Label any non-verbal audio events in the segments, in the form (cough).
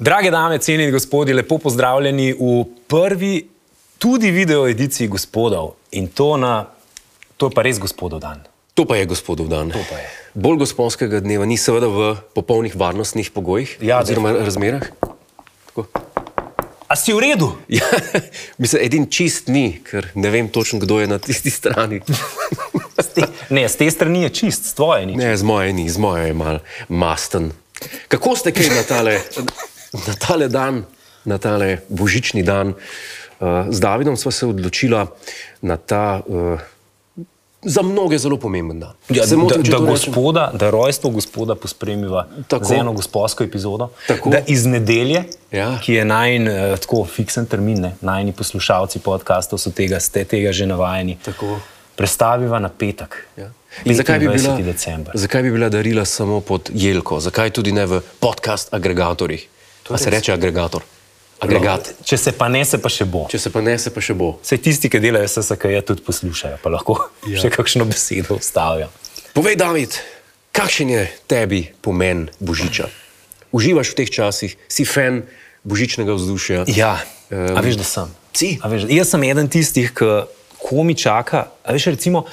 Drage dame, cene in gospodje, lepo pozdravljeni v prvi tudi video ediciji gospodov in to na, to je pa res gospodov dan. To pa je gospodov dan. To pa je. Bolj gospodskega dneva ni seveda v popolnih varnostnih pogojih Ja, oziroma razmerah. (laughs) Tako. A si v (laughs) redu? Ja, mislim, edin čist ni, ker ne vem točno, kdo je na tisti strani. S Te, ne, z te strani je čist, s tvoje ni. Ne, z moje ni, z moje je mal masten. Kako ste kaj na tale, na tale dan, na tale božični dan? Uh, z Davidom sva se odločila na ta uh, za mnoge zelo pomemben dan. Ja, se motim, če da, da, to rečem? gospoda, da rojstvo gospoda pospremiva Tako. z eno gospodsko epizodo. Tako. Da iz nedelje, Ja. ki je najn eh, tako fiksen termin, ne, najni poslušalci podkastov so tega, ste tega že navajeni. Tako. Prestaviva na petek. Ja. In zakaj bi, bila, 25. december? zakaj bi bila darila samo pod jelko, zakaj tudi ne v podcast agregatorjih? To se reče agregator. Agregat. No, Če se pa ne, se pa še bo. Če se pa ne, se pa še bo. Vse tisti, ki delajo SSKJ, tudi poslušajo, pa lahko ja. še kakšno besedo vstavijo. Povej, David, kakšen je tebi pomen Božiča? Uživaš v teh časih, si fan božičnega vzdušja. Ja, um, a Em, veš, da sem. Ehm, Si? A Veš, jaz sem eden tistih, ki komi čaka. A veš, recimo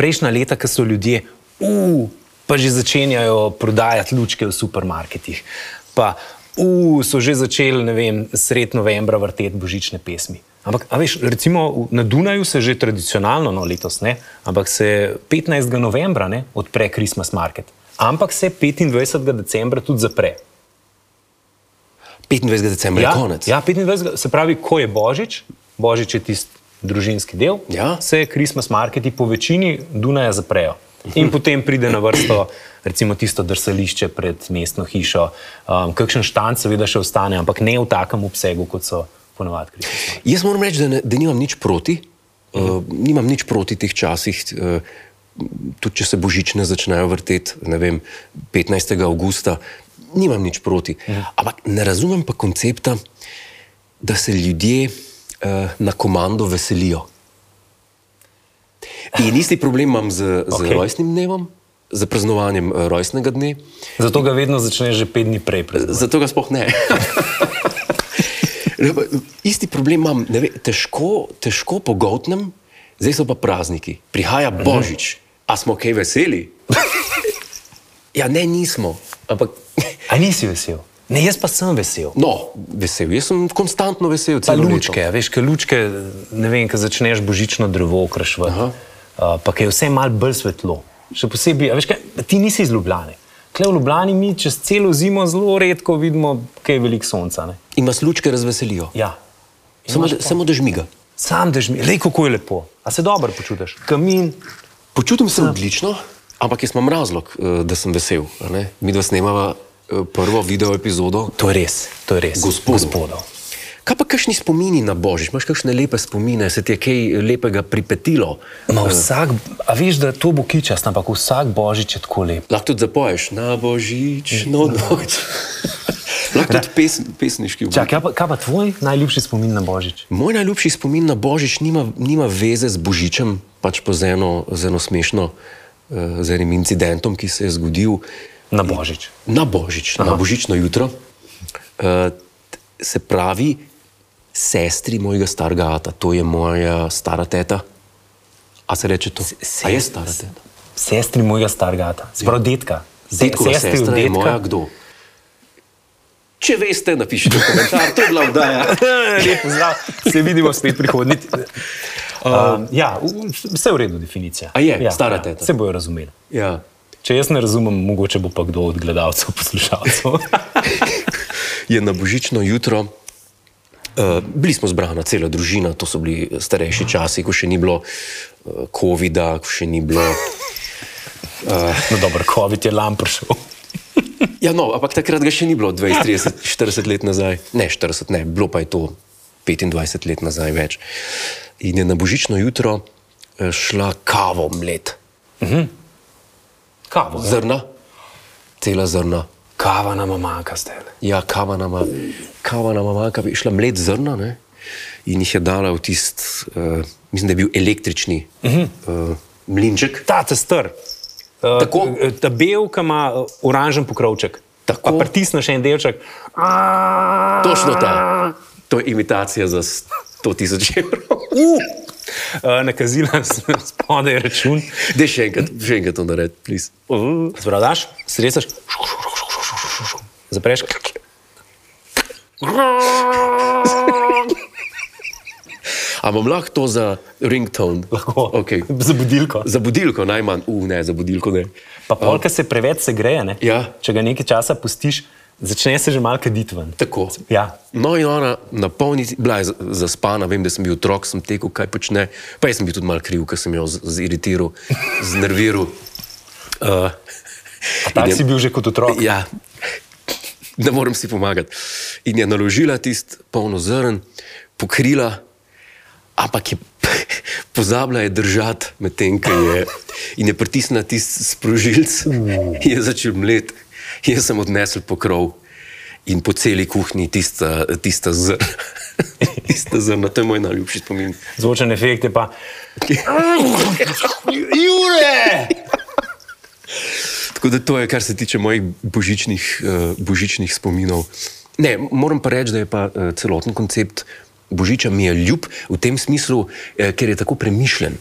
prejšnja leta, ko so ljudje, uh, pa že začenjajo prodajati lučke v supermarketih. Pa, uh, so že začeli, ne vem, sred novembra vrteti božične pesmi. Ampak, a veš, recimo v- na Dunaju se že tradicionalno, no letos ne, ampak se 15. novembra ne, odpre Christmas market. Ampak se 25. decembra tudi zapre. 25. decembra je konec. Ja, 25, se pravi, ko je Božič, Božič je tisti družinski del, Ja. se Christmas marketi po večini Dunaja zaprejo. In potem pride na vrsto, recimo, tisto drsališče pred mestno hišo. Um, kakšen štant, seveda, še ostane, ampak ne v takem obsegu, kot so ponovadi. Christmas. Jaz moram reči, da, ne, da nimam nič proti. Uh, nimam nič proti teh časih, uh, tudi če se božične začnejo vrteti, ne vem, 15. avgusta. Nimam nič proti. Ampak ne razumem pa koncepta, da se ljudje uh, na komando veselijo. In isti problem imam z, z Okej. okay. rojstnim dnevom, z praznovanjem uh, rojstnega dne. Zato ga vedno začneš že pet dni prej. praznovati. Zato ga sploh (laughs) ne. Ne, pa, Isti problem imam, ne ve, težko, težko pogotnem, zdaj so pa prazniki. Prihaja božič, a smo kaj (laughs) veseli? ja, ne, nismo. Ampak, A nisi vesel? Ne, jaz pa sem vesel. no, vesel. Jaz sem konstantno vesel. Pa celo leto. lučke, a veš, kaj lučke, ne vem, ko začneš božično drevo okrašvati, uh, pa ki je vse mal bolj svetlo. Še posebej, a veš, kaj, ti nisi iz Ljubljane. Kle v Ljubljani mi čez celo zimo zelo redko vidimo, kaj je veliko sonca. Ne? In vas lučke razveselijo. Ja. Samo, da, samo da žmiga. Sam dež mi, rej kako je lepo. A se dobro počutiš? Kamin, Počutim se odlično, ampak jaz imam razlog, eh, da sem vesel. a ne. Mi dva snemava eh, prvo video epizodo. to je res, to je res. Gospodov. Gospodov. Kaj pa kakšni spomini na božič? Imaš kakšne lepe spomine, se ti je kaj lepega pripetilo? Ma vsak, a veš, da to bo kičast, ampak vsak božič je tako lep. Lahko tudi zapoješ na božič, no (laughs) noč. Lahko tudi pes, pesniški obliki. Čak, kaj, pa, kaj pa tvoj najljubši spomin na božič? Moj najljubši spomin na božič nima, nima veze z božičem, pač pa z eno, z eno smešno, eh, z enim incidentom, ki se je zgodil Na božič. na božič, Aha. na božično jutro. Eh, t- Se pravi, sestri mojega starega ata, to je moja stara teta. A se reče to? se- A je stara teta? sestri mojega starega, ata. se pravi, detka. Se- Detkova sestri od sestra je detka. moja kdo? Če veste, napišite v komentar, to je bila vdaja. (laughs) Lep pozdrav, se vidimo spet (laughs) prihodnji. Um, ja, v- vse je v redu, definicija. A je, ja, stara ja, teta. Se bojo razumeli. Ja. Če jaz ne razumem, mogoče bo pa kdo od gledalcev, (laughs) poslušalcev. Je na božično jutro. Uh, bili smo zbrana, cela družina, to so bili starejši časi, ko še ni bilo uh, COVID-a, ko še ni bilo. no, dobro, COVID je lam prišel. Ja, no, ampak takrat ga še ni bilo 20, 30, 40 let nazaj. Ne, 40, ne, bilo pa je to 25 let nazaj več. In je na božično jutro eh, šla kavo mlet, Kavo, zdaj zrna, cela zrna. kava nam manjka zdaj. Ja, kava nama, kava nama manjka, bi šla mlet zrna. Ne? in jih je dala v tisti, uh, mislim, da je bil električni uh -huh. uh, mlinček. Ta tester, uh, Tako. eh, ta bel, ki ima eh, oranžen pokrovček. Tako. Pa pritisneš en delček. Točno ta. To je imitacija za 100 tisoč evrov. (laughs) Uh, eh, nakazila sem (laughs) spodaj račun. Dej še enkrat, še enkrat to naredi, plis. Mhm. Zbral daš, sresaš, zapreš. A bom lahko to za ringtone? Lahko. Okay. Za budilko. Za budilko najmanj, uh, ne, za budilko ne. Pa pol, ki se preveč segreje, ne? Ja. če ga nekaj časa pustiš, začne se že malo kaditi ven. Tako. Ja. No, in ona napolni, bila je z- zaspana, vem, da sem bil otrok, sem tekel, kaj počne. Pa jaz sem bil tudi mal kriv, ker sem jo z- ziritiral, (laughs) znerviral. Uh, Tam si bil že kot otrok. Ja, ne morem si pomagati. In je naložila tisti polno zrn, pokrila, ampak je (laughs) pozabila je držati medtem, ko je. In je pritisnila tisti sprožilc, in je začel mlet. Jaz sem odnesel pokrov in po celi kuhinji tista, tista zrna. (laughs) Tista zrna, to je moj najljubši spomin. Zvočen efekt je pa. Tako da to je, kar se tiče mojih božičnih, eh, božičnih spominov. Ne, moram pa reči, da je pa eh, celoten koncept božiča mi je ljub v tem smislu, eh, ker je tako premišljen.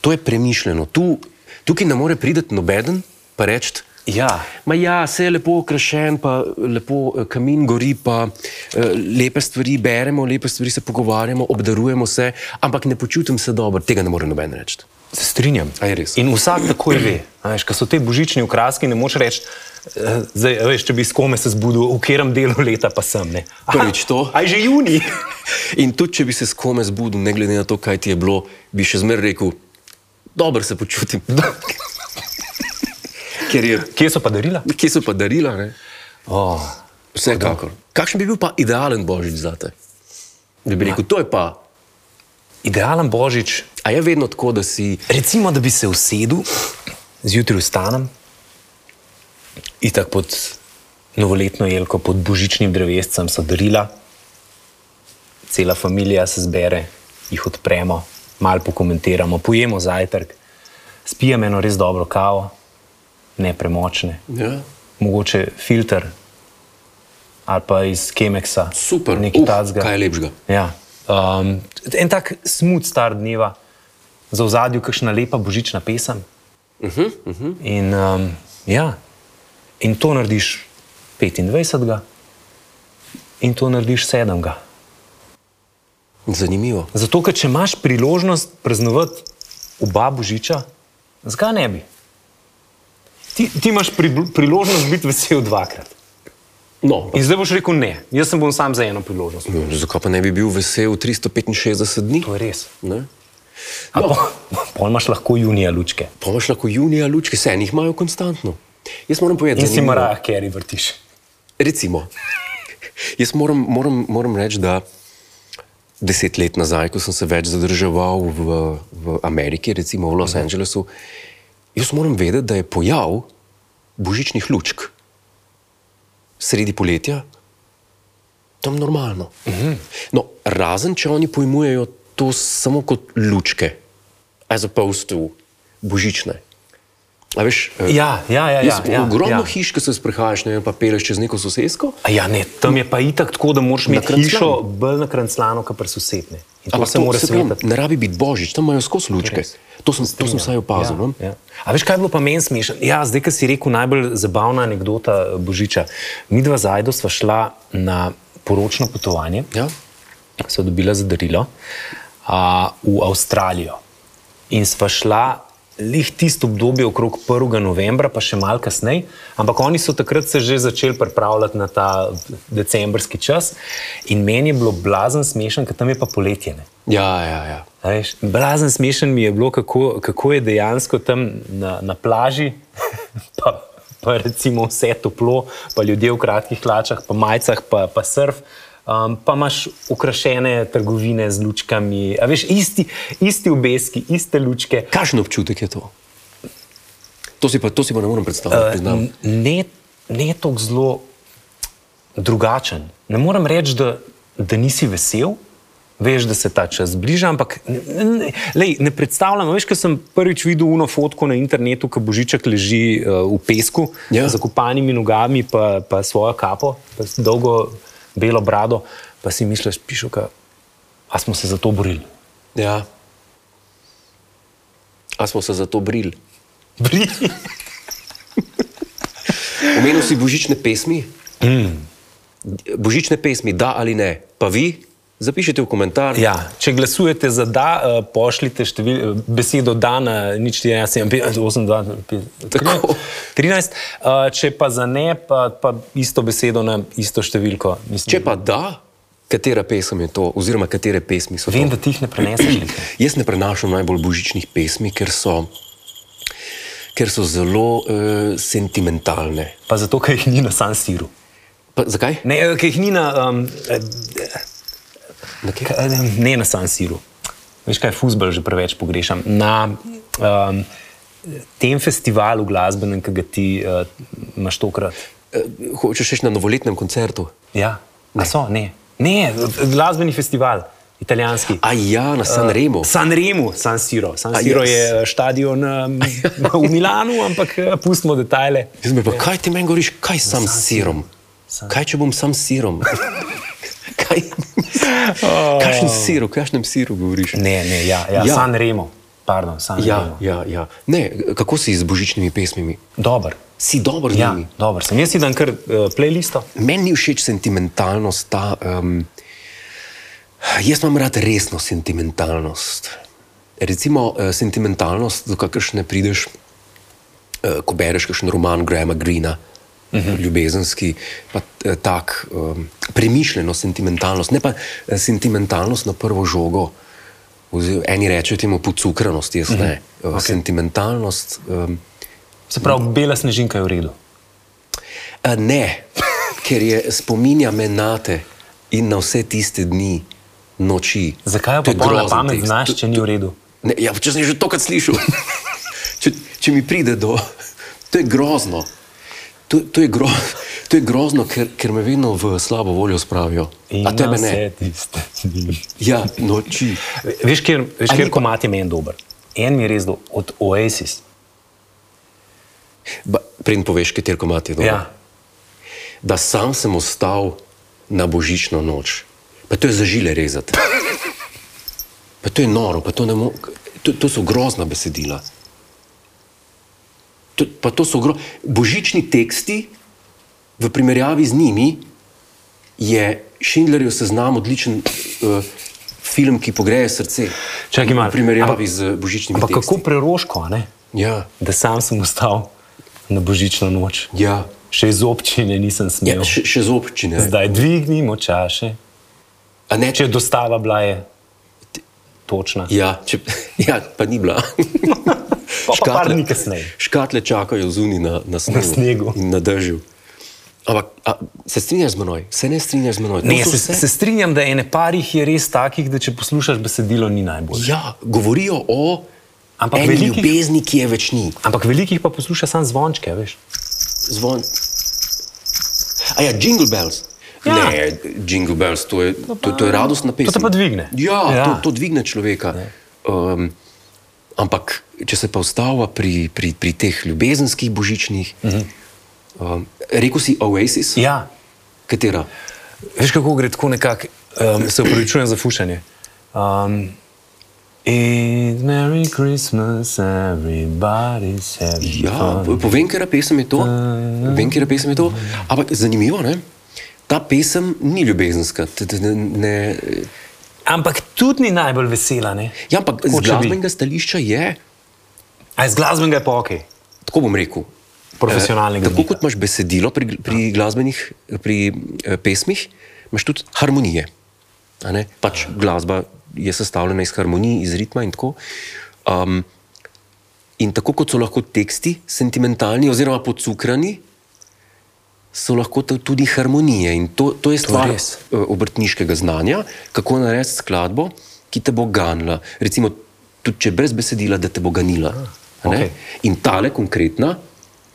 To je premišljeno. Tu, tukaj ne more priti noben pa reči. Ja. Ma ja, vse je lepo okrašen, pa lepo eh, kamin gori, pa eh, lepe stvari beremo, lepe stvari se pogovarjamo, obdarujemo se, ampak ne počutim se dobro, tega ne more noben reči. Se strinjam. A je res? In vsak takoj ve. a Veš, ko so te božični okraski, ne moš reči, eh, zdaj, a veš, če bi s kome se zbudil, v katerem delu leta pa sem. Ne? Aha, Prvič to. A je že juni. In tudi, če bi se s kome zbudil, ne glede na to, kaj ti je bilo, bi še zmeraj rekel, dobro se počutim. (laughs) Ker je, Kje so pa darila? kje so pa darila? Ne? Oh. Vsekakor. Kakšen bi bil pa idealen božič za te? Da bi rekel, to je pa. Idealen božič. A je vedno tako, da si. Recimo, da bi se usedel, zjutraj vstanem, itak pod novoletno jelko, pod božičnim drevescem so darila, cela družina se zbere, jih odpremo, malo pokomentiramo, pojemo zajtrk, spijemo eno res dobro kavo, ne premočne, Ja. mogoče filter ali pa iz Kemeksa, Super, nekaj tacga. Kaj je lepšega? Ja. Um, en tak smut star dneva, za ozadju kakšna lepa božična pesem. Uh -huh, uh -huh. In, um, ja. in to narediš 25. in to narediš 7. Zanimivo. Zato, ker če imaš priložnost praznovati oba božiča, zakaj ne bi? Ti, ti imaš pri, priložnost biti vesel dvakrat. No, In zdaj boš rekel ne, jaz sem bom sam za eno priložnost. no, zakaj pa ne bi bil vesel 365 dni? To je res. Ne? No. Po, pol (laughs) imaš lahko junija lučke. Pa imaš lahko junija lučke, vse jih imajo konstantno. Jaz moram povedati, In da si mora, ker jih vrtiš. Recimo, jaz moram, moram, moram reči, da deset let nazaj, ko sem se več zadrževal v, v Ameriki, recimo v Los Angelesu, jaz moram vedeti, da je pojav božičnih lučk sredi poletja tam normalno. No, razen če oni pojmujejo to samo kot lučke, as opposed to božične. A veš, eh, Ja, ja, ja. ja, Jaz, ja ogromno ja. ja. hiš, ki se sprehajaš, ne vem, pa peleš čez neko sosesko. A Ja, ne, tam je pa itak tako, da moraš imeti Nakranjclan. hišo bolj nakrancljano, kot pri sosednji. In to Ampak se mora saj pravim, svetiti. Ne rabi biti božič, tam imajo skozi lučke. Res. To sem, to sem vsaj opazil. no. Ja, ja. A veš, kaj je bilo pa meni smešno? Ja, zdaj, ki si rekel, najbolj zabavna anekdota eh, Božiča. Mi dva zajdo sva šla na poročno potovanje, Ja? so dobila za darilo a, v Avstralijo. In sva šla lih tisto obdobje okrog 1. novembra, pa še malo kasneje, ampak oni so takrat se že začeli pripravljati na ta decembrski čas. In meni je bilo blazen smešen, ker tam je pa poletje. Ne? Ja, ja, ja. A Veš, blazen smešen mi je bilo, kako, kako je dejansko tam na, na plaži, (laughs) pa, pa recimo vse toplo, pa ljudje v kratkih hlačah, pa majicah, pa, pa surf. Um, pa imaš ukrašene trgovine z lučkami, a veš, isti, isti obeski, iste lučke. Kakšen občutek je to? To si pa, to si pa ne morem predstavljati. priznam. Eh, N- Ne, ne tako zelo drugačen. Ne morem reči, da da nisi vesel, veš, da se ta čas bliža, ampak ne, ne, lej, ne predstavljam. Veš, ko sem prvič videl uno fotko na internetu, ko Božiček leži uh, v pesku Ja. z zakopanimi nogami, pa, pa svojo kapo, pa s dolgo belo brado, pa si misliš, pišoka, a smo se za to (laughs) borili. Ja. A smo se za to brili? Brili. Omenil si božične pesmi. Mm. Božične pesmi, da ali ne, pa vi zapišite v komentar. Ja, če glasujete za da, eh, pošljite števil, eh, besedo da na nič 14,8,2,13. Tako. Eh, Če pa za ne, pa, pa isto besedo na isto številko. Mislim, Če pa da, katera pesem je to, oziroma katere pesmi so Vem, to? da ti jih ne preneseš. Luka. Jaz ne prenašam najbolj božičnih pesmi, ker so, ker so zelo uh, sentimentalne. Pa zato, ker jih ni na San Siru. Pa, zakaj? Ne, eh, ker jih ni na, um, Na kje? ne na San Siru. Veš kaj, fusbol že preveč pogrešam. Na um, tem festivalu glasbenem, ki ga ti uh, imaš tokrat. Eh, Hočeš še na novoletnem koncertu? Ja, ne. so, ne. Ne, glasbeni festival, italijanski. A ja, Eh, na San Remo. San Remo, San Siro. San A, Siro yes. je eh, stadion em, v Milanu, (laughs) ampak eh, pustimo detajle. Jaz me pa, kaj ti meni govoriš, kaj sam s sirom? San- Kaj če bom sam s (laughs) sirom? kaj? Kakšen sir, o kakšnem siru govoriš? Oh. Ne, ne, ja, ja, ja. Ja. San Remo. Pardon, San Ja, Remo. ja, ja. Ne, kako si z božičnimi pesmimi? Dober. Si dober z Ja, njimi. dober. Sem jaz idem kar uh, playlisto. Meni ni všeč sentimentalnost, ta. Um, jaz imam rad resno sentimentalnost. Recimo eh, sentimentalnost, do kakršne prideš, eh, ko bereš kakšen roman Grahama Greena. Uh -huh. Ljubezenski, pa eh, tak um, premišljeno sentimentalnost, ne pa eh, sentimentalnost na prvo žogo. Oziroma, eni rečejo temu pocukranost, jaz uh -huh. ne. Okay. Sentimentalnost. Um, Se pravi, bela snežinka je v redu. A ne, ker je spominja me na te in na vse tiste dni, noči. Zakaj jo pa To je pol na grozen pamet tekst. znaš, če ni v redu? Ne, ja, če sem že tokrat slišal, (laughs) če, če mi pride do. To je grozno. To, to, je, gro, to je grozno, ker, ker me vedno v slabo voljo spravijo. In A tebe ne. vse tiste dni. Ja, noči. Veš, kjer, veš, A kjer ni- komat je meni dober. En mi je res dober, od Oasis. Ba, Preden poveš, kater komat je dobro. Ja. Da sam sem ostal na božično noč. Pa to je zažile rezati. Pa to je noro, pa to, ne mo- to, to so grozna besedila. To, pa to so gro... Božični teksti, v primerjavi z njimi, je Schindlerjev seznam odličen uh, film, ki pogreje srce. Čakaj malo, v primerjavi ampak- ampak, z božičnimi Ampak teksti. kako preroško, a ne? Ja, da sam sem ostal na božično noč. ja. Še iz občine nisem smel. ja še, še z občine. Zdaj dvignimo čaše. A Ne, Če je dostava bila je točna. Ja, če, (laughs) ja, pa ni bila. (laughs) pa par dni kasneje. škatle čakajo zunaj na, na, snegu snegu. in na dežju. Ampak a, se strinjaš z menoj, se ne strinjaš z menoj. To Ne, so se, vse- se strinjam, da ene parih je res takih, da če poslušaš besedilo, ni najbolj. Ja, govorijo o Ampak eni velikih- ljubezni, ki je večni. Ampak velikih pa poslušaš samo zvončke, veš. Zvon. A ja, Jingle Bells. Ja. Ne, Jingle Bells, to je, to, to je radostna pesem. te pa dvigne. Ja, Ja. ja. To, to dvigne človeka. Um, ampak, če se pa ostava pri, pri, pri teh ljubezenskih božičnih, uh -huh. um, rekel si Oasis, Mhm. Ja, katera? veš kako gre tako nekako, um, se upravičujem za fušanje. Um, It's Merry Christmas, everybody's happy. Ja, po- povem, ker pesem je to. Vem, ker pesem je to. Ampak zanimivo, ne? Ta pesem ni ljubezenska. T- t- Ne, ne, Ampak tudi ni najbolj vesela, ne? ja, ampak z Hoče bi. glasbenega stališča je, A iz glasbenega je pa ok. tako bom rekel, Profesionalnega. Eh, Ja. Tako kot imaš besedilo pri, pri glasbenih pri, eh, pesmih, imaš tudi harmonije. a ne? Pač glasba je sestavljena iz harmonij, iz ritma in tako. Um, in tako kot so lahko teksti sentimentalni oziroma pocukrani, so lahko to tudi harmonije. In to, to je stvar res. eh, obrtniškega znanja, kako narediti skladbo, ki te bo ganila. Recimo, tudi če brez besedila, da te bo ganila. A ne? okej. In tale konkretna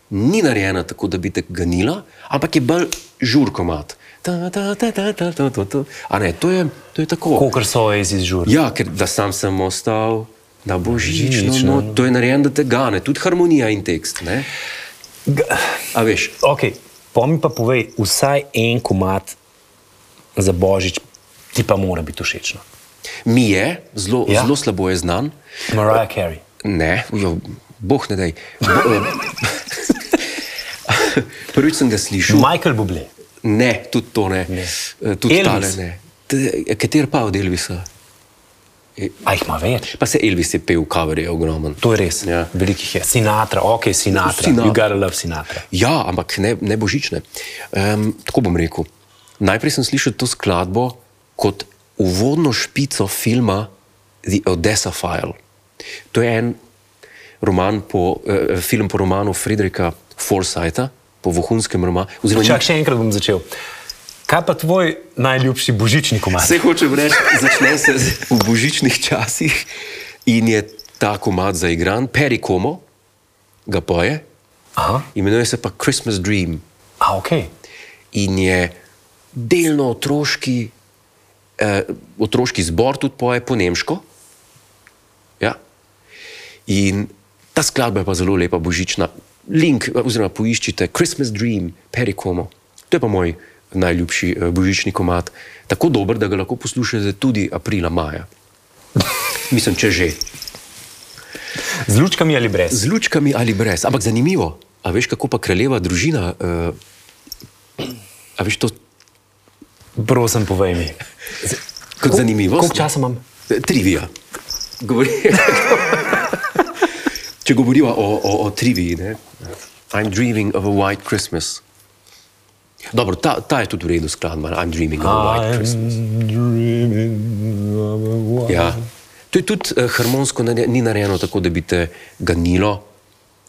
ni narejena tako, da bi te ganila, ampak je bolj žurkomat. ta, ta, ta, ta, ta, ta, ta, ta. A ne, to je, to je tako. Kolikor so jaz izžur. Ja, ker da sam sem ostal na božično. Božično, No, to je narejeno, da te gane, tudi harmonija in tekst. Ne? A veš, Okay, pa mi pa povej, vsaj en komat za božič ti pa mora biti no. všečno. mi je, zelo, Ja. ja. zelo slabo je znan. Mariah Carey. Ne, jo, boh ne daj. Bo, (laughs) eh, Prvič sem ga slišal. Michael Bublé. Ne, tudi to ne. Ne. Eh, Tudi Elvis. tale ne. Te- Kater pa od Elvisa? A jih ima več? Pa se Elvis je pel, kaver je ogromen. To je res. Ja. Ja. Velikih je. Sinatra, ok, Sinatra. Sinatra. Sinatra. You gotta love Sinatra. Ja, ampak ne, ne božične. Um, tako bom rekel. Najprej sem slišal to skladbo kot uvodno špico filma The Odessa File. To je en roman po, eh, film po romanu Friedricha Forsytha, po vohunskem romanu. Oziroma, Čak, še enkrat bom začel. Kaj pa tvoj najljubši božični komat? Vse hočem reči, začne se z- v božičnih časih in je ta komat zaigran, Perikomo, ga poje, Aha, imenuje se pa Christmas Dream a ok. in je delno otroški, eh, otroški zbor, tudi poje po nemško. Ja. In ta skladba je pa zelo lepa, božična. Link, eh, oziroma poiščite Christmas Dream, Perikomo. To je pa moj najljubši eh, božični komat. Tako dober, da ga lahko poslušate tudi aprila, (laughs) maja. Mislim, če že. Z lučkami ali brez? Z lučkami ali brez. Ampak zanimivo, a veš, kako pa kraljeva družina. Uh, a veš, to Prosim, povej mi. kot zanimivo. Koliko časa imam? Trivija. Govori... (laughs) Če govorimo o, o, o triviji, ne? I'm dreaming of a white Christmas. Dobro, ta, ta je tudi v redu skladba, I'm dreaming of a Ah, ja. white Christmas. Ja. To je tudi eh, harmonsko, nare- ni narejeno tako, da bi te ganilo,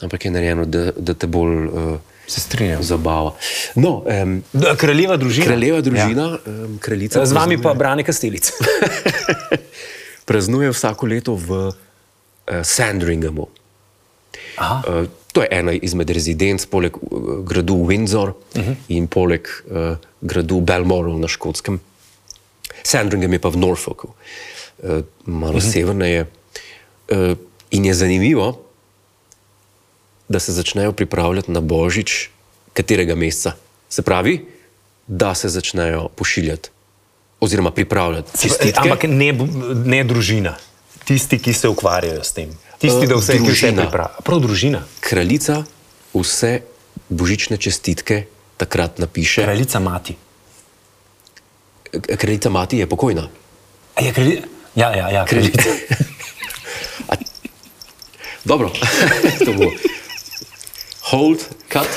ampak je narejeno, da, da te bolj uh, Se strinjam. zabava. No, um, Da, Kraljeva družina. kraljeva družina, ja. um, kraljica. Z vami praznuje- pa Brane (laughs) Kastelic. praznuje vsako leto v uh, Sandringhamu. Aha. Eh, to je ena izmed rezidenc, poleg eh, gradu Windsor uh -huh. in poleg uh, gradu Balmoral na škotskem. Sandringham je pa v Norfolku, uh, malo uh -huh. severneje. Uh, in je zanimivo, da se začnejo pripravljati na božič katerega meseca. Se pravi, da se začnejo pošiljati. Oziroma, pripravljati čestitke. Ampak ne, bu- ne družina. Eh, Tisti, ki se ukvarjajo s tem. Tisti, da vse, ki vse Družina. pripravlja. Prav družina. kraljica vse božične čestitke takrat napiše. Kraljica mati. K- Kraljica mati je pokojna. A je kraljica? Ja, ja, ja. Kraljica. kraljica. A- Dobro, (laughs) to bo. Hold, (laughs) cut.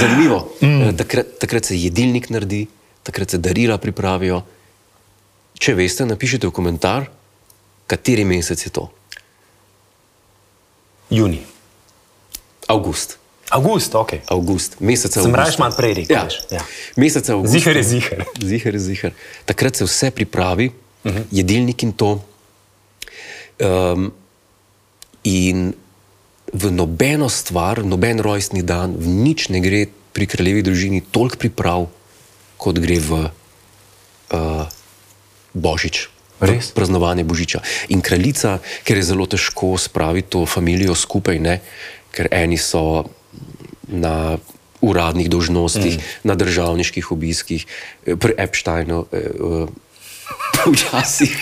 Zanimivo. Mm. Takrat, takrat se jedilnik naredi, takrat se darila pripravijo. Če veste, napišite v komentar, kateri mesec je to. Juni. Avgust. Avgust, ok. Avgust, mesec Sem avgust. raje malo prej rekel, Ja. veš, ja. Mesec avgust. Zihar je zihar. Zihar je zihar. Takrat se vse pripravi, uh Mhm. -huh. jedilnik in to. Um, in v nobeno stvar, v noben rojstni dan, v nič ne gre pri kraljevi družini toliko priprav, kot gre v uh, Božič. Res? v Praznovanje Božiča. In kraljica, ker je zelo težko spraviti to družino skupaj, ne? ker eni so na uradnih dožnostih, mm. na državniških obiskih, eh, pri Epsteinu, eh, eh, včasih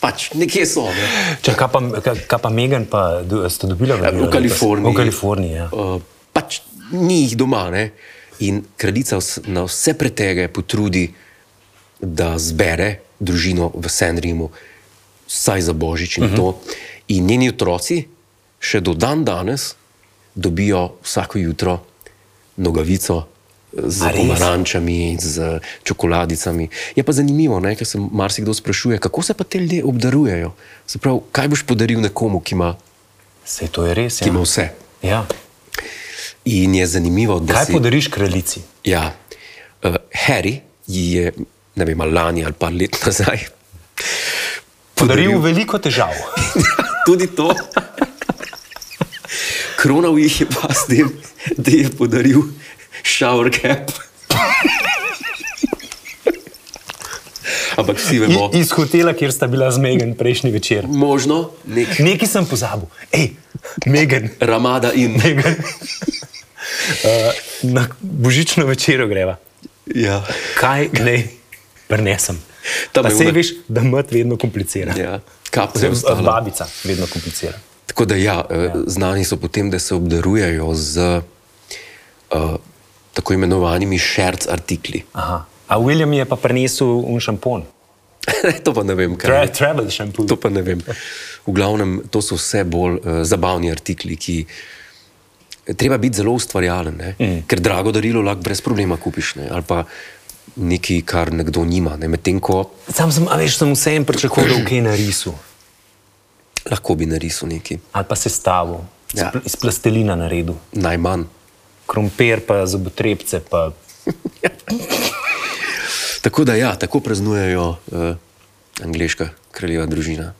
pač nekje so. Ne? Če kaj pa, kaj, kaj pa Megan, pa do- sta dobila Ja, vabilo, ne? v Kaliforniji. V Kaliforniji, ja. Uh, pač ni jih doma. Ne? In kraljica vs- na vse pretege potrudi, da zbere družino v Sandringu, vsaj za božič Mhm. in uh -huh. to. In njeni otroci še do dan danes dobijo vsako jutro nogavico. eh, Z A res? pomarančami, z čokoladicami. Je pa zanimivo, ne, ker se marsikdo sprašuje, kako se pa te ljudje obdarujejo. Se pravi, kaj boš podaril nekomu, ki ima, Sej to je res. ki Ja. ima vse? Ja. In je zanimivo, da Kaj si, podariš kraljici? ja, uh, Harry ji je, ne vem, ali lani ali pa let nazaj, Podaril veliko težav. tudi to. Kronal jih je pa s tem, da je podaril shower cap. Ampak vsi vemo, I, iz hotela, kjer sta bila z Megan prejšnji večer. možno nek Nekaj sem pozabil, hej, Megan. ramada in. (laughs) Megan. Uh, na božično večerjo greva. Ja. Kaj naj prenesem? Tam Pa je sej ona- veš, da mrt vedno komplicira. Ja. Kap se je Oziroma, vstala. Babica vedno komplicira. Tako da, ja, eh, znani so potem, da se obdarujejo z uh, tako imenovanimi šerc artikli. (laughs) Aha. A William je pa prinesel un šampon, to pa ne vem, kaj Tra je. travel šampon. To pa ne vem. V glavnem, to so vse bolj uh, zabavni artikli, ki. eh, Treba biti zelo ustvarjalen, mm. ker drago darilo lahko brez problema kupiš. Ne? Ali pa nekaj, kar nekdo nima. Ne? Medtem ko Sam sem, a veš, sem vseeno pričakoval, da bo kaj narisal lahko bi narisal nekaj, ali pa sestavil, Ja. ja. iz plastelina naredil, najmanj. krompir, pa zobotrebce, pa Tako da, ja, tako praznujejo uh, angliška kraljeva družina.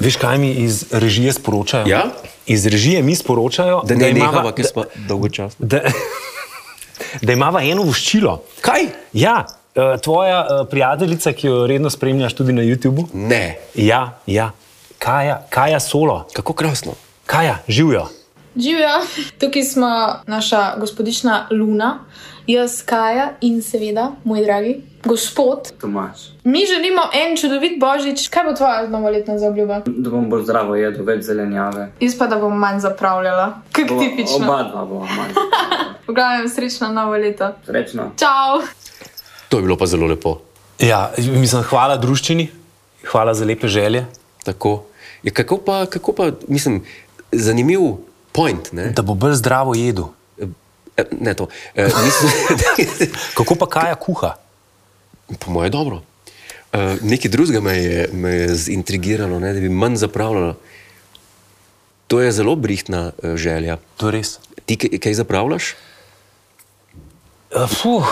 Veš, kaj mi iz režije sporočajo? Ja? Iz režije mi sporočajo, Da ne imava- nehava, ker smo dolgočasni. da, (laughs) da imava eno voščilo. Kaj? Ja, eh, tvoja eh, prijateljica, ki jo redno spremljaš tudi na YouTubu. Ne, Ja, ja. Kaja, Kaja solo, kako krasno. Kaja, živijo. Živijo, tukaj smo naša gospodična Luna, jaz, Kaja in seveda, moj dragi gospod. Tomaš. Mi želimo en čudovit božič, kaj bo tvoja novoletna zaobljuba? Da bom bolj zdravo jedel, več zelenjave. Jaz pa da bom manj zapravljala, kot Bo- tipično. Oba dva bova manj. V glavnem, srečno novo leto. Srečno. Čau! To je bilo pa zelo lepo. Ja, mislim, hvala družščini, hvala za lepe želje. Tako. Ja, kako, pa, kako pa, mislim, zanimiv point. Ne, Da bo bolj zdravo jedel. e, ne to. E, mislim, (laughs) Kako pa Kaja kuha? po mojem, dobro. E, nekaj drugega me je, me je zintrigiralo, ne, da bi manj zapravljalo. To je zelo brihtna e, želja. To je res. Ti kaj, kaj zapravljaš? Eh, Fuh,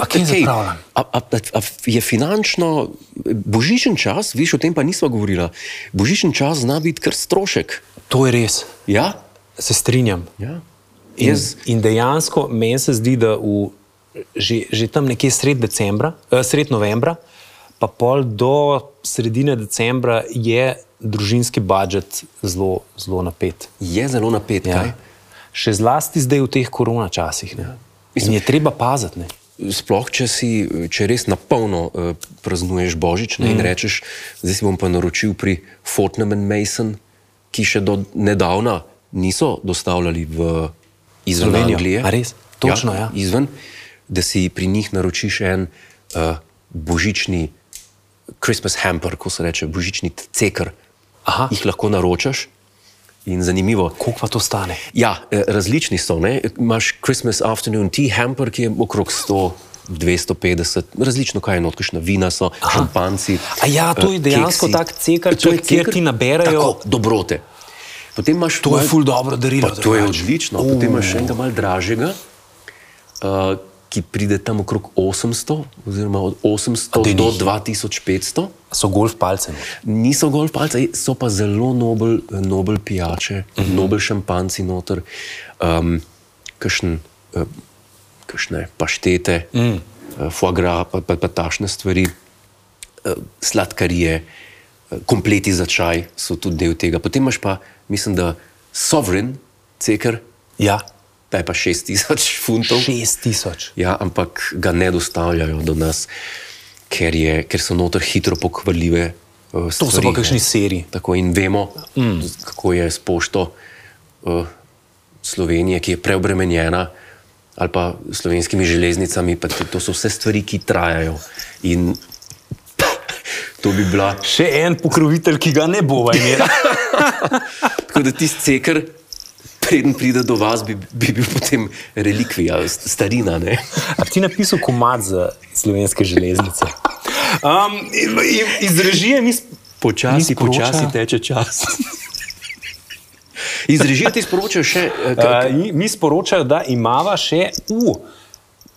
a kje kaj- zapravljam? a, a, a je finančno božičen čas, viš o tem pa nismo govorila. Božičen čas zna biti kar strošek. To je res, Ja? se strinjam. Ja. In, Jaz, in dejansko meni se zdi, da v, že, že tam nekje sred, decembra, eh, sred novembra, pa pol do sredine decembra je družinski budžet zelo, zelo napet. je zelo napet. Ja. Še zlasti zdaj v teh korona časih. Ja. Mislim, je treba paziti. Ne? Sploh, če, si, če res na polno uh, praznuješ božič ne, mm. in rečeš, zdaj si bom pa naročil pri Fortnum in Mason, ki še do nedavna niso dostavljali v izven Slovenijo. Anglije. A res? Točno, ja. Izven, da si pri njih naročiš en uh, božični Christmas hamper, ko se reče božični cekr. Aha. Jih lahko naročaš in zanimivo. Koliko pa to stane? Ja, eh, različni so. Ne? Imaš Christmas afternoon tea hamper, ki je okrog 100. 250, različno kaj je, not, kakšna vina so, Aha. šampanci. A ja, to je eh, dejansko keksi. Eh, tak cekar, To je kjer ti naberajo- tako, dobrote. Potem imaš To je ful dobro darilo. Pa to je drugače. odlično. Potem imaš še enega malo dražjega, uh, ki pride tam okrog 800, oziroma od 800 do 2500. So golf palcem. Niso golf palce, so pa zelo nobel, nobel pijače, uh Mhm. -huh. nobel šampanci noter, um, kakšen, eh, kakšne paštete, mm. uh, foie gras, pa, pa, pa tašne stvari, uh, sladkarije, eh, kompleti za čaj so tudi del tega. Potem imaš pa, mislim, da sovereign, cekr, Ja, ta je pa 6000 funtov. 6000. Ja, ampak ga ne dostavljajo do nas, ker, je, ker so noter hitro pokvarljive. Uh, To so pa kakšni seriji. Tako in vemo, mm. kako je s pošto uh, Slovenije, ki je preobremenjena, ali pa slovenskimi železnicami. Pa to, to so vse stvari, ki trajajo. In (laughs) to bi bila. Še en pokrovitelj, ki ga ne bova imela. Tako da tisti cekr, preden pride do vas, bi, bi bil potem relikvija, s- starina. Ne? A bi ti napisal komat za slovenske železnice? Um, iz režije mi sp- Počasi, Mi sporoča- počasi teče čas. Iz režije ti sporočajo še, eh, (laughs) ka- Uh, mi- mi sporočajo, da imamo še uh,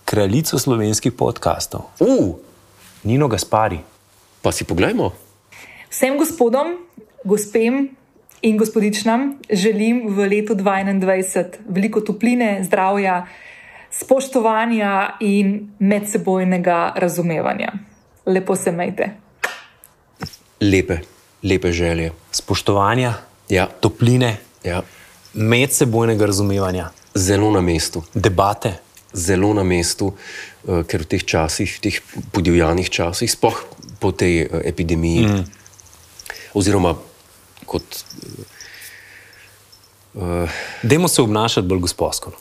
kraljico slovenskih podkastov, uh, Nino Gaspari. pa si poglejmo. Vsem gospodom, gospem in gospodičnam želim v letu 2021 veliko topline, zdravja, spoštovanja in medsebojnega razumevanja. Lepo se majte. Lepe, lepe želje. Spoštovanja, Ja. topline, Ja. medsebojnega razumevanja, Zelo na mestu. debate. zelo na mestu, eh, ker v teh časih, v teh podivjanih časih, spoh po tej eh, epidemiji, mm. oziroma kot Dajmo se obnašati bolj gospodsko.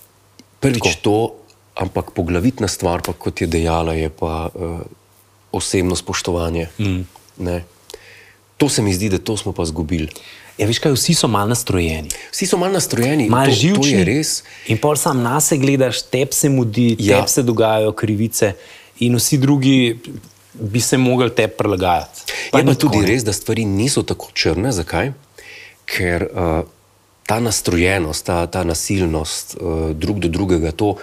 prvič Tako. to, ampak poglavitna stvar, pa, kot je dejala, je pa uh, osebno spoštovanje. Mm. To se mi zdi, da to smo pa izgubili. Ja, veš kaj, vsi so malo nastrojeni, Vsi so malo nastrojeni, malo to, živčni. to je res. In pol sam na sebe gledaš, tebi se mudi, ja. Ja. tebi se dogajajo krivice, in vsi drugi bi se mogli tebi prilagajati. Pa je pa nikoli. tudi res, da stvari niso tako črne. Zakaj? Ker uh, ta nastrojenost, ta, ta nasilnost uh, drug do drugega, to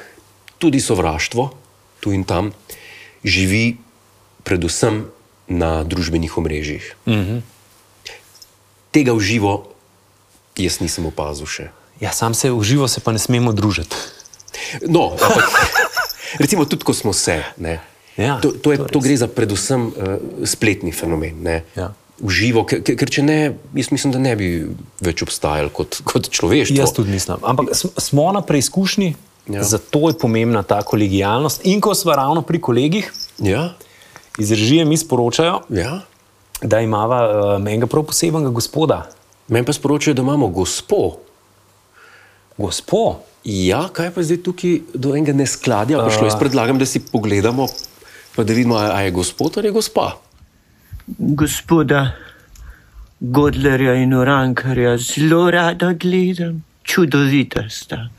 tudi sovraštvo, tu in tam, živi predvsem na družbenih omrežjih. Mm -hmm. Tega v živo jaz nisem opazil še. Ja, sam se v živo se pa ne smemo družiti. No, ampak, (laughs) recimo, tudi ko smo se. Ne, Ja, to, to, je, to to, to gre za predvsem uh, spletni fenomen. Ne, Ja. Uživo, ker, ker- ker če ne, jaz mislim, da ne bi več obstajali kot, kot človeštvo. Jaz tudi nisem. Ampak sm- smo na preizkušnji, ja. Ja. zato je pomembna ta kolegijalnost. In ko smo ravno pri kolegih, Ja, iz režije mi sporočajo, ja. da imamo um, enega prav posebnega gospoda. Meni pa sporočajo, da imamo gospo. Gospod, Ja, kaj pa je zdaj tukaj do enega neskladja prišlo? Ah. Jaz predlagam, da si pogledamo, pa da vidimo, a a je gospod ali je gospa. gospoda Godlerja in Urankarja zelo rada gledam, čudovita sta.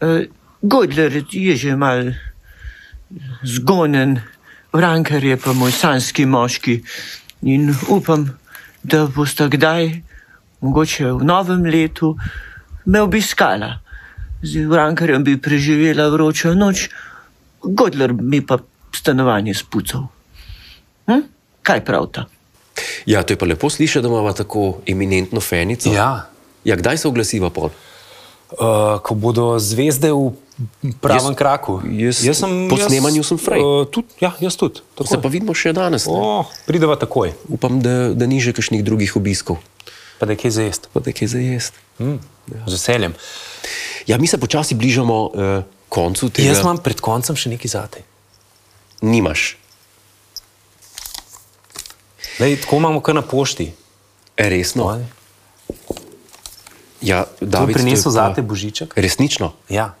Eh, Godler je že mal zgonen, Urankar je pa moj sanski moški in upam, da bosta kdaj, mogoče v novem letu, me obiskala. Z Urankarjem bi preživela vročo noč, Godler mi pa stanovanje spucal. Hm? Kaj pravta? Ja, to je pa lepo slišati, da imamo tako eminentno fenico. ja, ja kdaj se oglasiva pol? uh, ko bodo zvezde v pravem jaz, Jaz- kraku. jaz- po snemanju sem fraj. Uh, tudi, ja, jaz tudi. Se pa takoj. vidimo še danes. ne? O, Prideva takoj, Upam, da, da ni že kakšnih drugih obiskov, pa da je kje za jesti. pa da je kaj za jesti. Mm, z veseljem. Ja, mi se počasi bližamo eh, koncu tega. Jaz imam pred koncem še nekaj zate. Nimaš, Lej, tako imamo kar na pošti. E, resno. Oj. Ja, To je David, prinesel pa- zate Božiček. Resnično. Ja.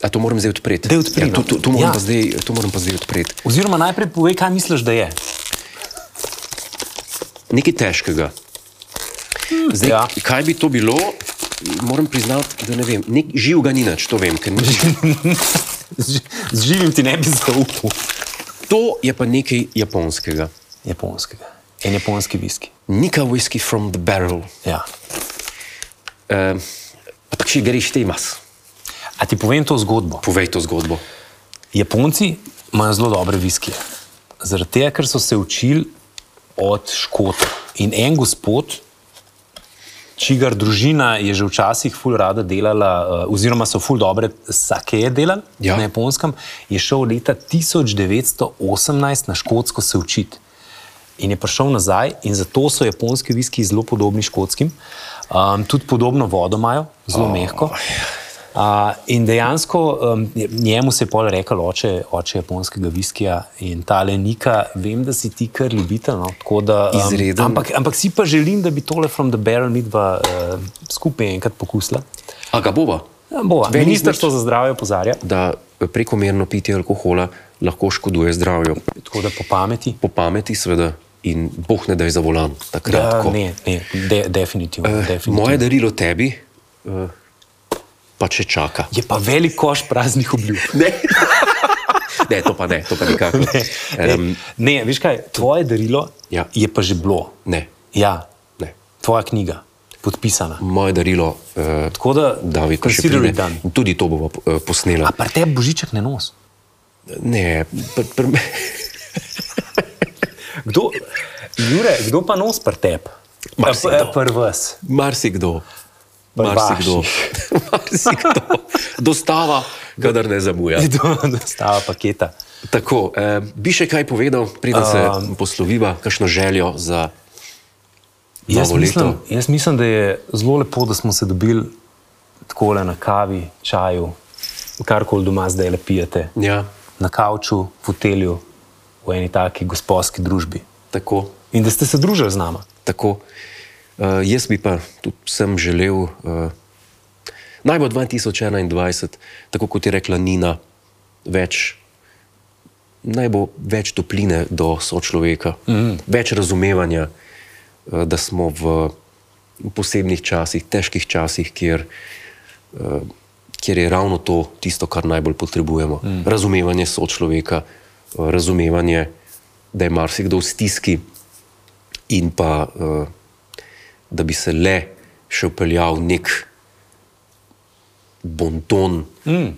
A to moram zdaj odpreti. Daj odpri, ja, to, no. to, to, Ja. moram ja. zdaj, to moram pa zdaj odpreti. Oziroma, najprej povej, kaj misliš, da je. Nekaj težkega. Zdaj, ja. ja. Kaj bi to bilo, moram priznati, da ne vem. Nek, živ ga ni nič, to vem. ker ni- (laughs) Z ži- z živim ti ne bi zaupal. To je pa nekaj japonskega. Japonskega. En japonski viski. Nika whisky from the barrel. Ja. Eh, pa tak še greš temas. A ti povem to zgodbo? Povej to zgodbo. Japonci imajo zelo dobre viskije. Zaradi tega, ker so se učili od Škotov. In en gospod, čigar družina je že včasih ful rada delala, eh, oziroma so ful dobre sakeje delali ja. Ja. na japonskem, je šel leta 1918 na Škotsko se učiti. In je prišel nazaj, in zato so japonski viski zelo podobni škotskim. Um, tudi podobno vodo imajo, zelo oh. mehko. Uh, in dejansko um, njemu se je pol rekel, oče, oče japonskega viskija in ta lenika, vem, da si ti kar ljubitelj. No, tako da, Izreden. Ampak, ampak si pa želim, da bi tole from the barrel midva uh, skupaj enkrat pokusila. A ga bova? Ja, bova. Veni Ministrstvo za zdravje opozarja, da prekomerno pitje alkohola lahko škoduje zdravju. tako da po pameti. Po pameti, seveda, in boh ne daj za volan, takrat. Ja, ko- ne, ne, de, definitivno. Eh, definitivno. Moje darilo tebi eh, pa če čaka. Je pa velik koš praznih obljub. Ne. (laughs) ne, to pa ne, to pa nikakor. Ne, Em, Ehm, ne, veš kaj, tvoje darilo ja. Ehm, Ja. je pa že bilo. ne, Ja, ne. tvoja knjiga, podpisana. Moje darilo, eh, Tako da, David, ko še consider pride, it done. tudi to bomo eh, A posnela. pa te božiček ne nos. Ne, pr, pr, (laughs) Kdo, Jure, kdo pa nos Eh, pri tebi? Marsikdo. Prvs. marsikdo. Barbaši. (laughs) (laughs) Marsikdo. marsikdo. Dostava kadar ne zamuja. Do dostava paketa. Tako, eh, bi še kaj povedal, preden se Um, um, posloviva, kakšno željo za Jaz novo mislim, leto? jaz mislim, da je zelo lepo, da smo se dobili tako na kavi, čaju, karkoli doma zdaj le pijete. Ja, Na kavču, v hotelju, v eni taki gospodski družbi. tako. In da ste se družili z nami. tako. Eh, jaz bi pa tudi sem želel, eh, naj bo 2021, tako kot je rekla Nina, več. Naj bo več topline do sočloveka, mm. več razumevanja, eh, da smo v posebnih časih, težkih časih, kjer eh, kjer je ravno to tisto, kar najbolj potrebujemo. Mm. Razumevanje sočloveka, eh, razumevanje, da je marsikdo v stiski in pa eh, da bi se le še upeljal nek bonton, mm.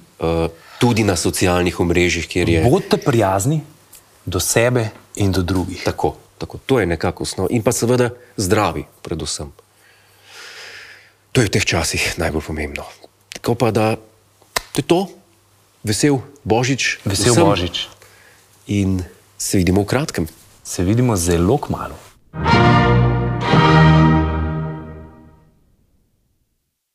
tudi na socialnih omrežjih, kjer je. Bodite prijazni do sebe in do drugih. Tako, tako, to je nekako osnov. In pa seveda zdravi, predvsem. To je v teh časih najbolj pomembno. Tako pa da to je to, vesel božič, Vesel vsem Božič. in se vidimo v kratkem. Se vidimo zelo kmalo.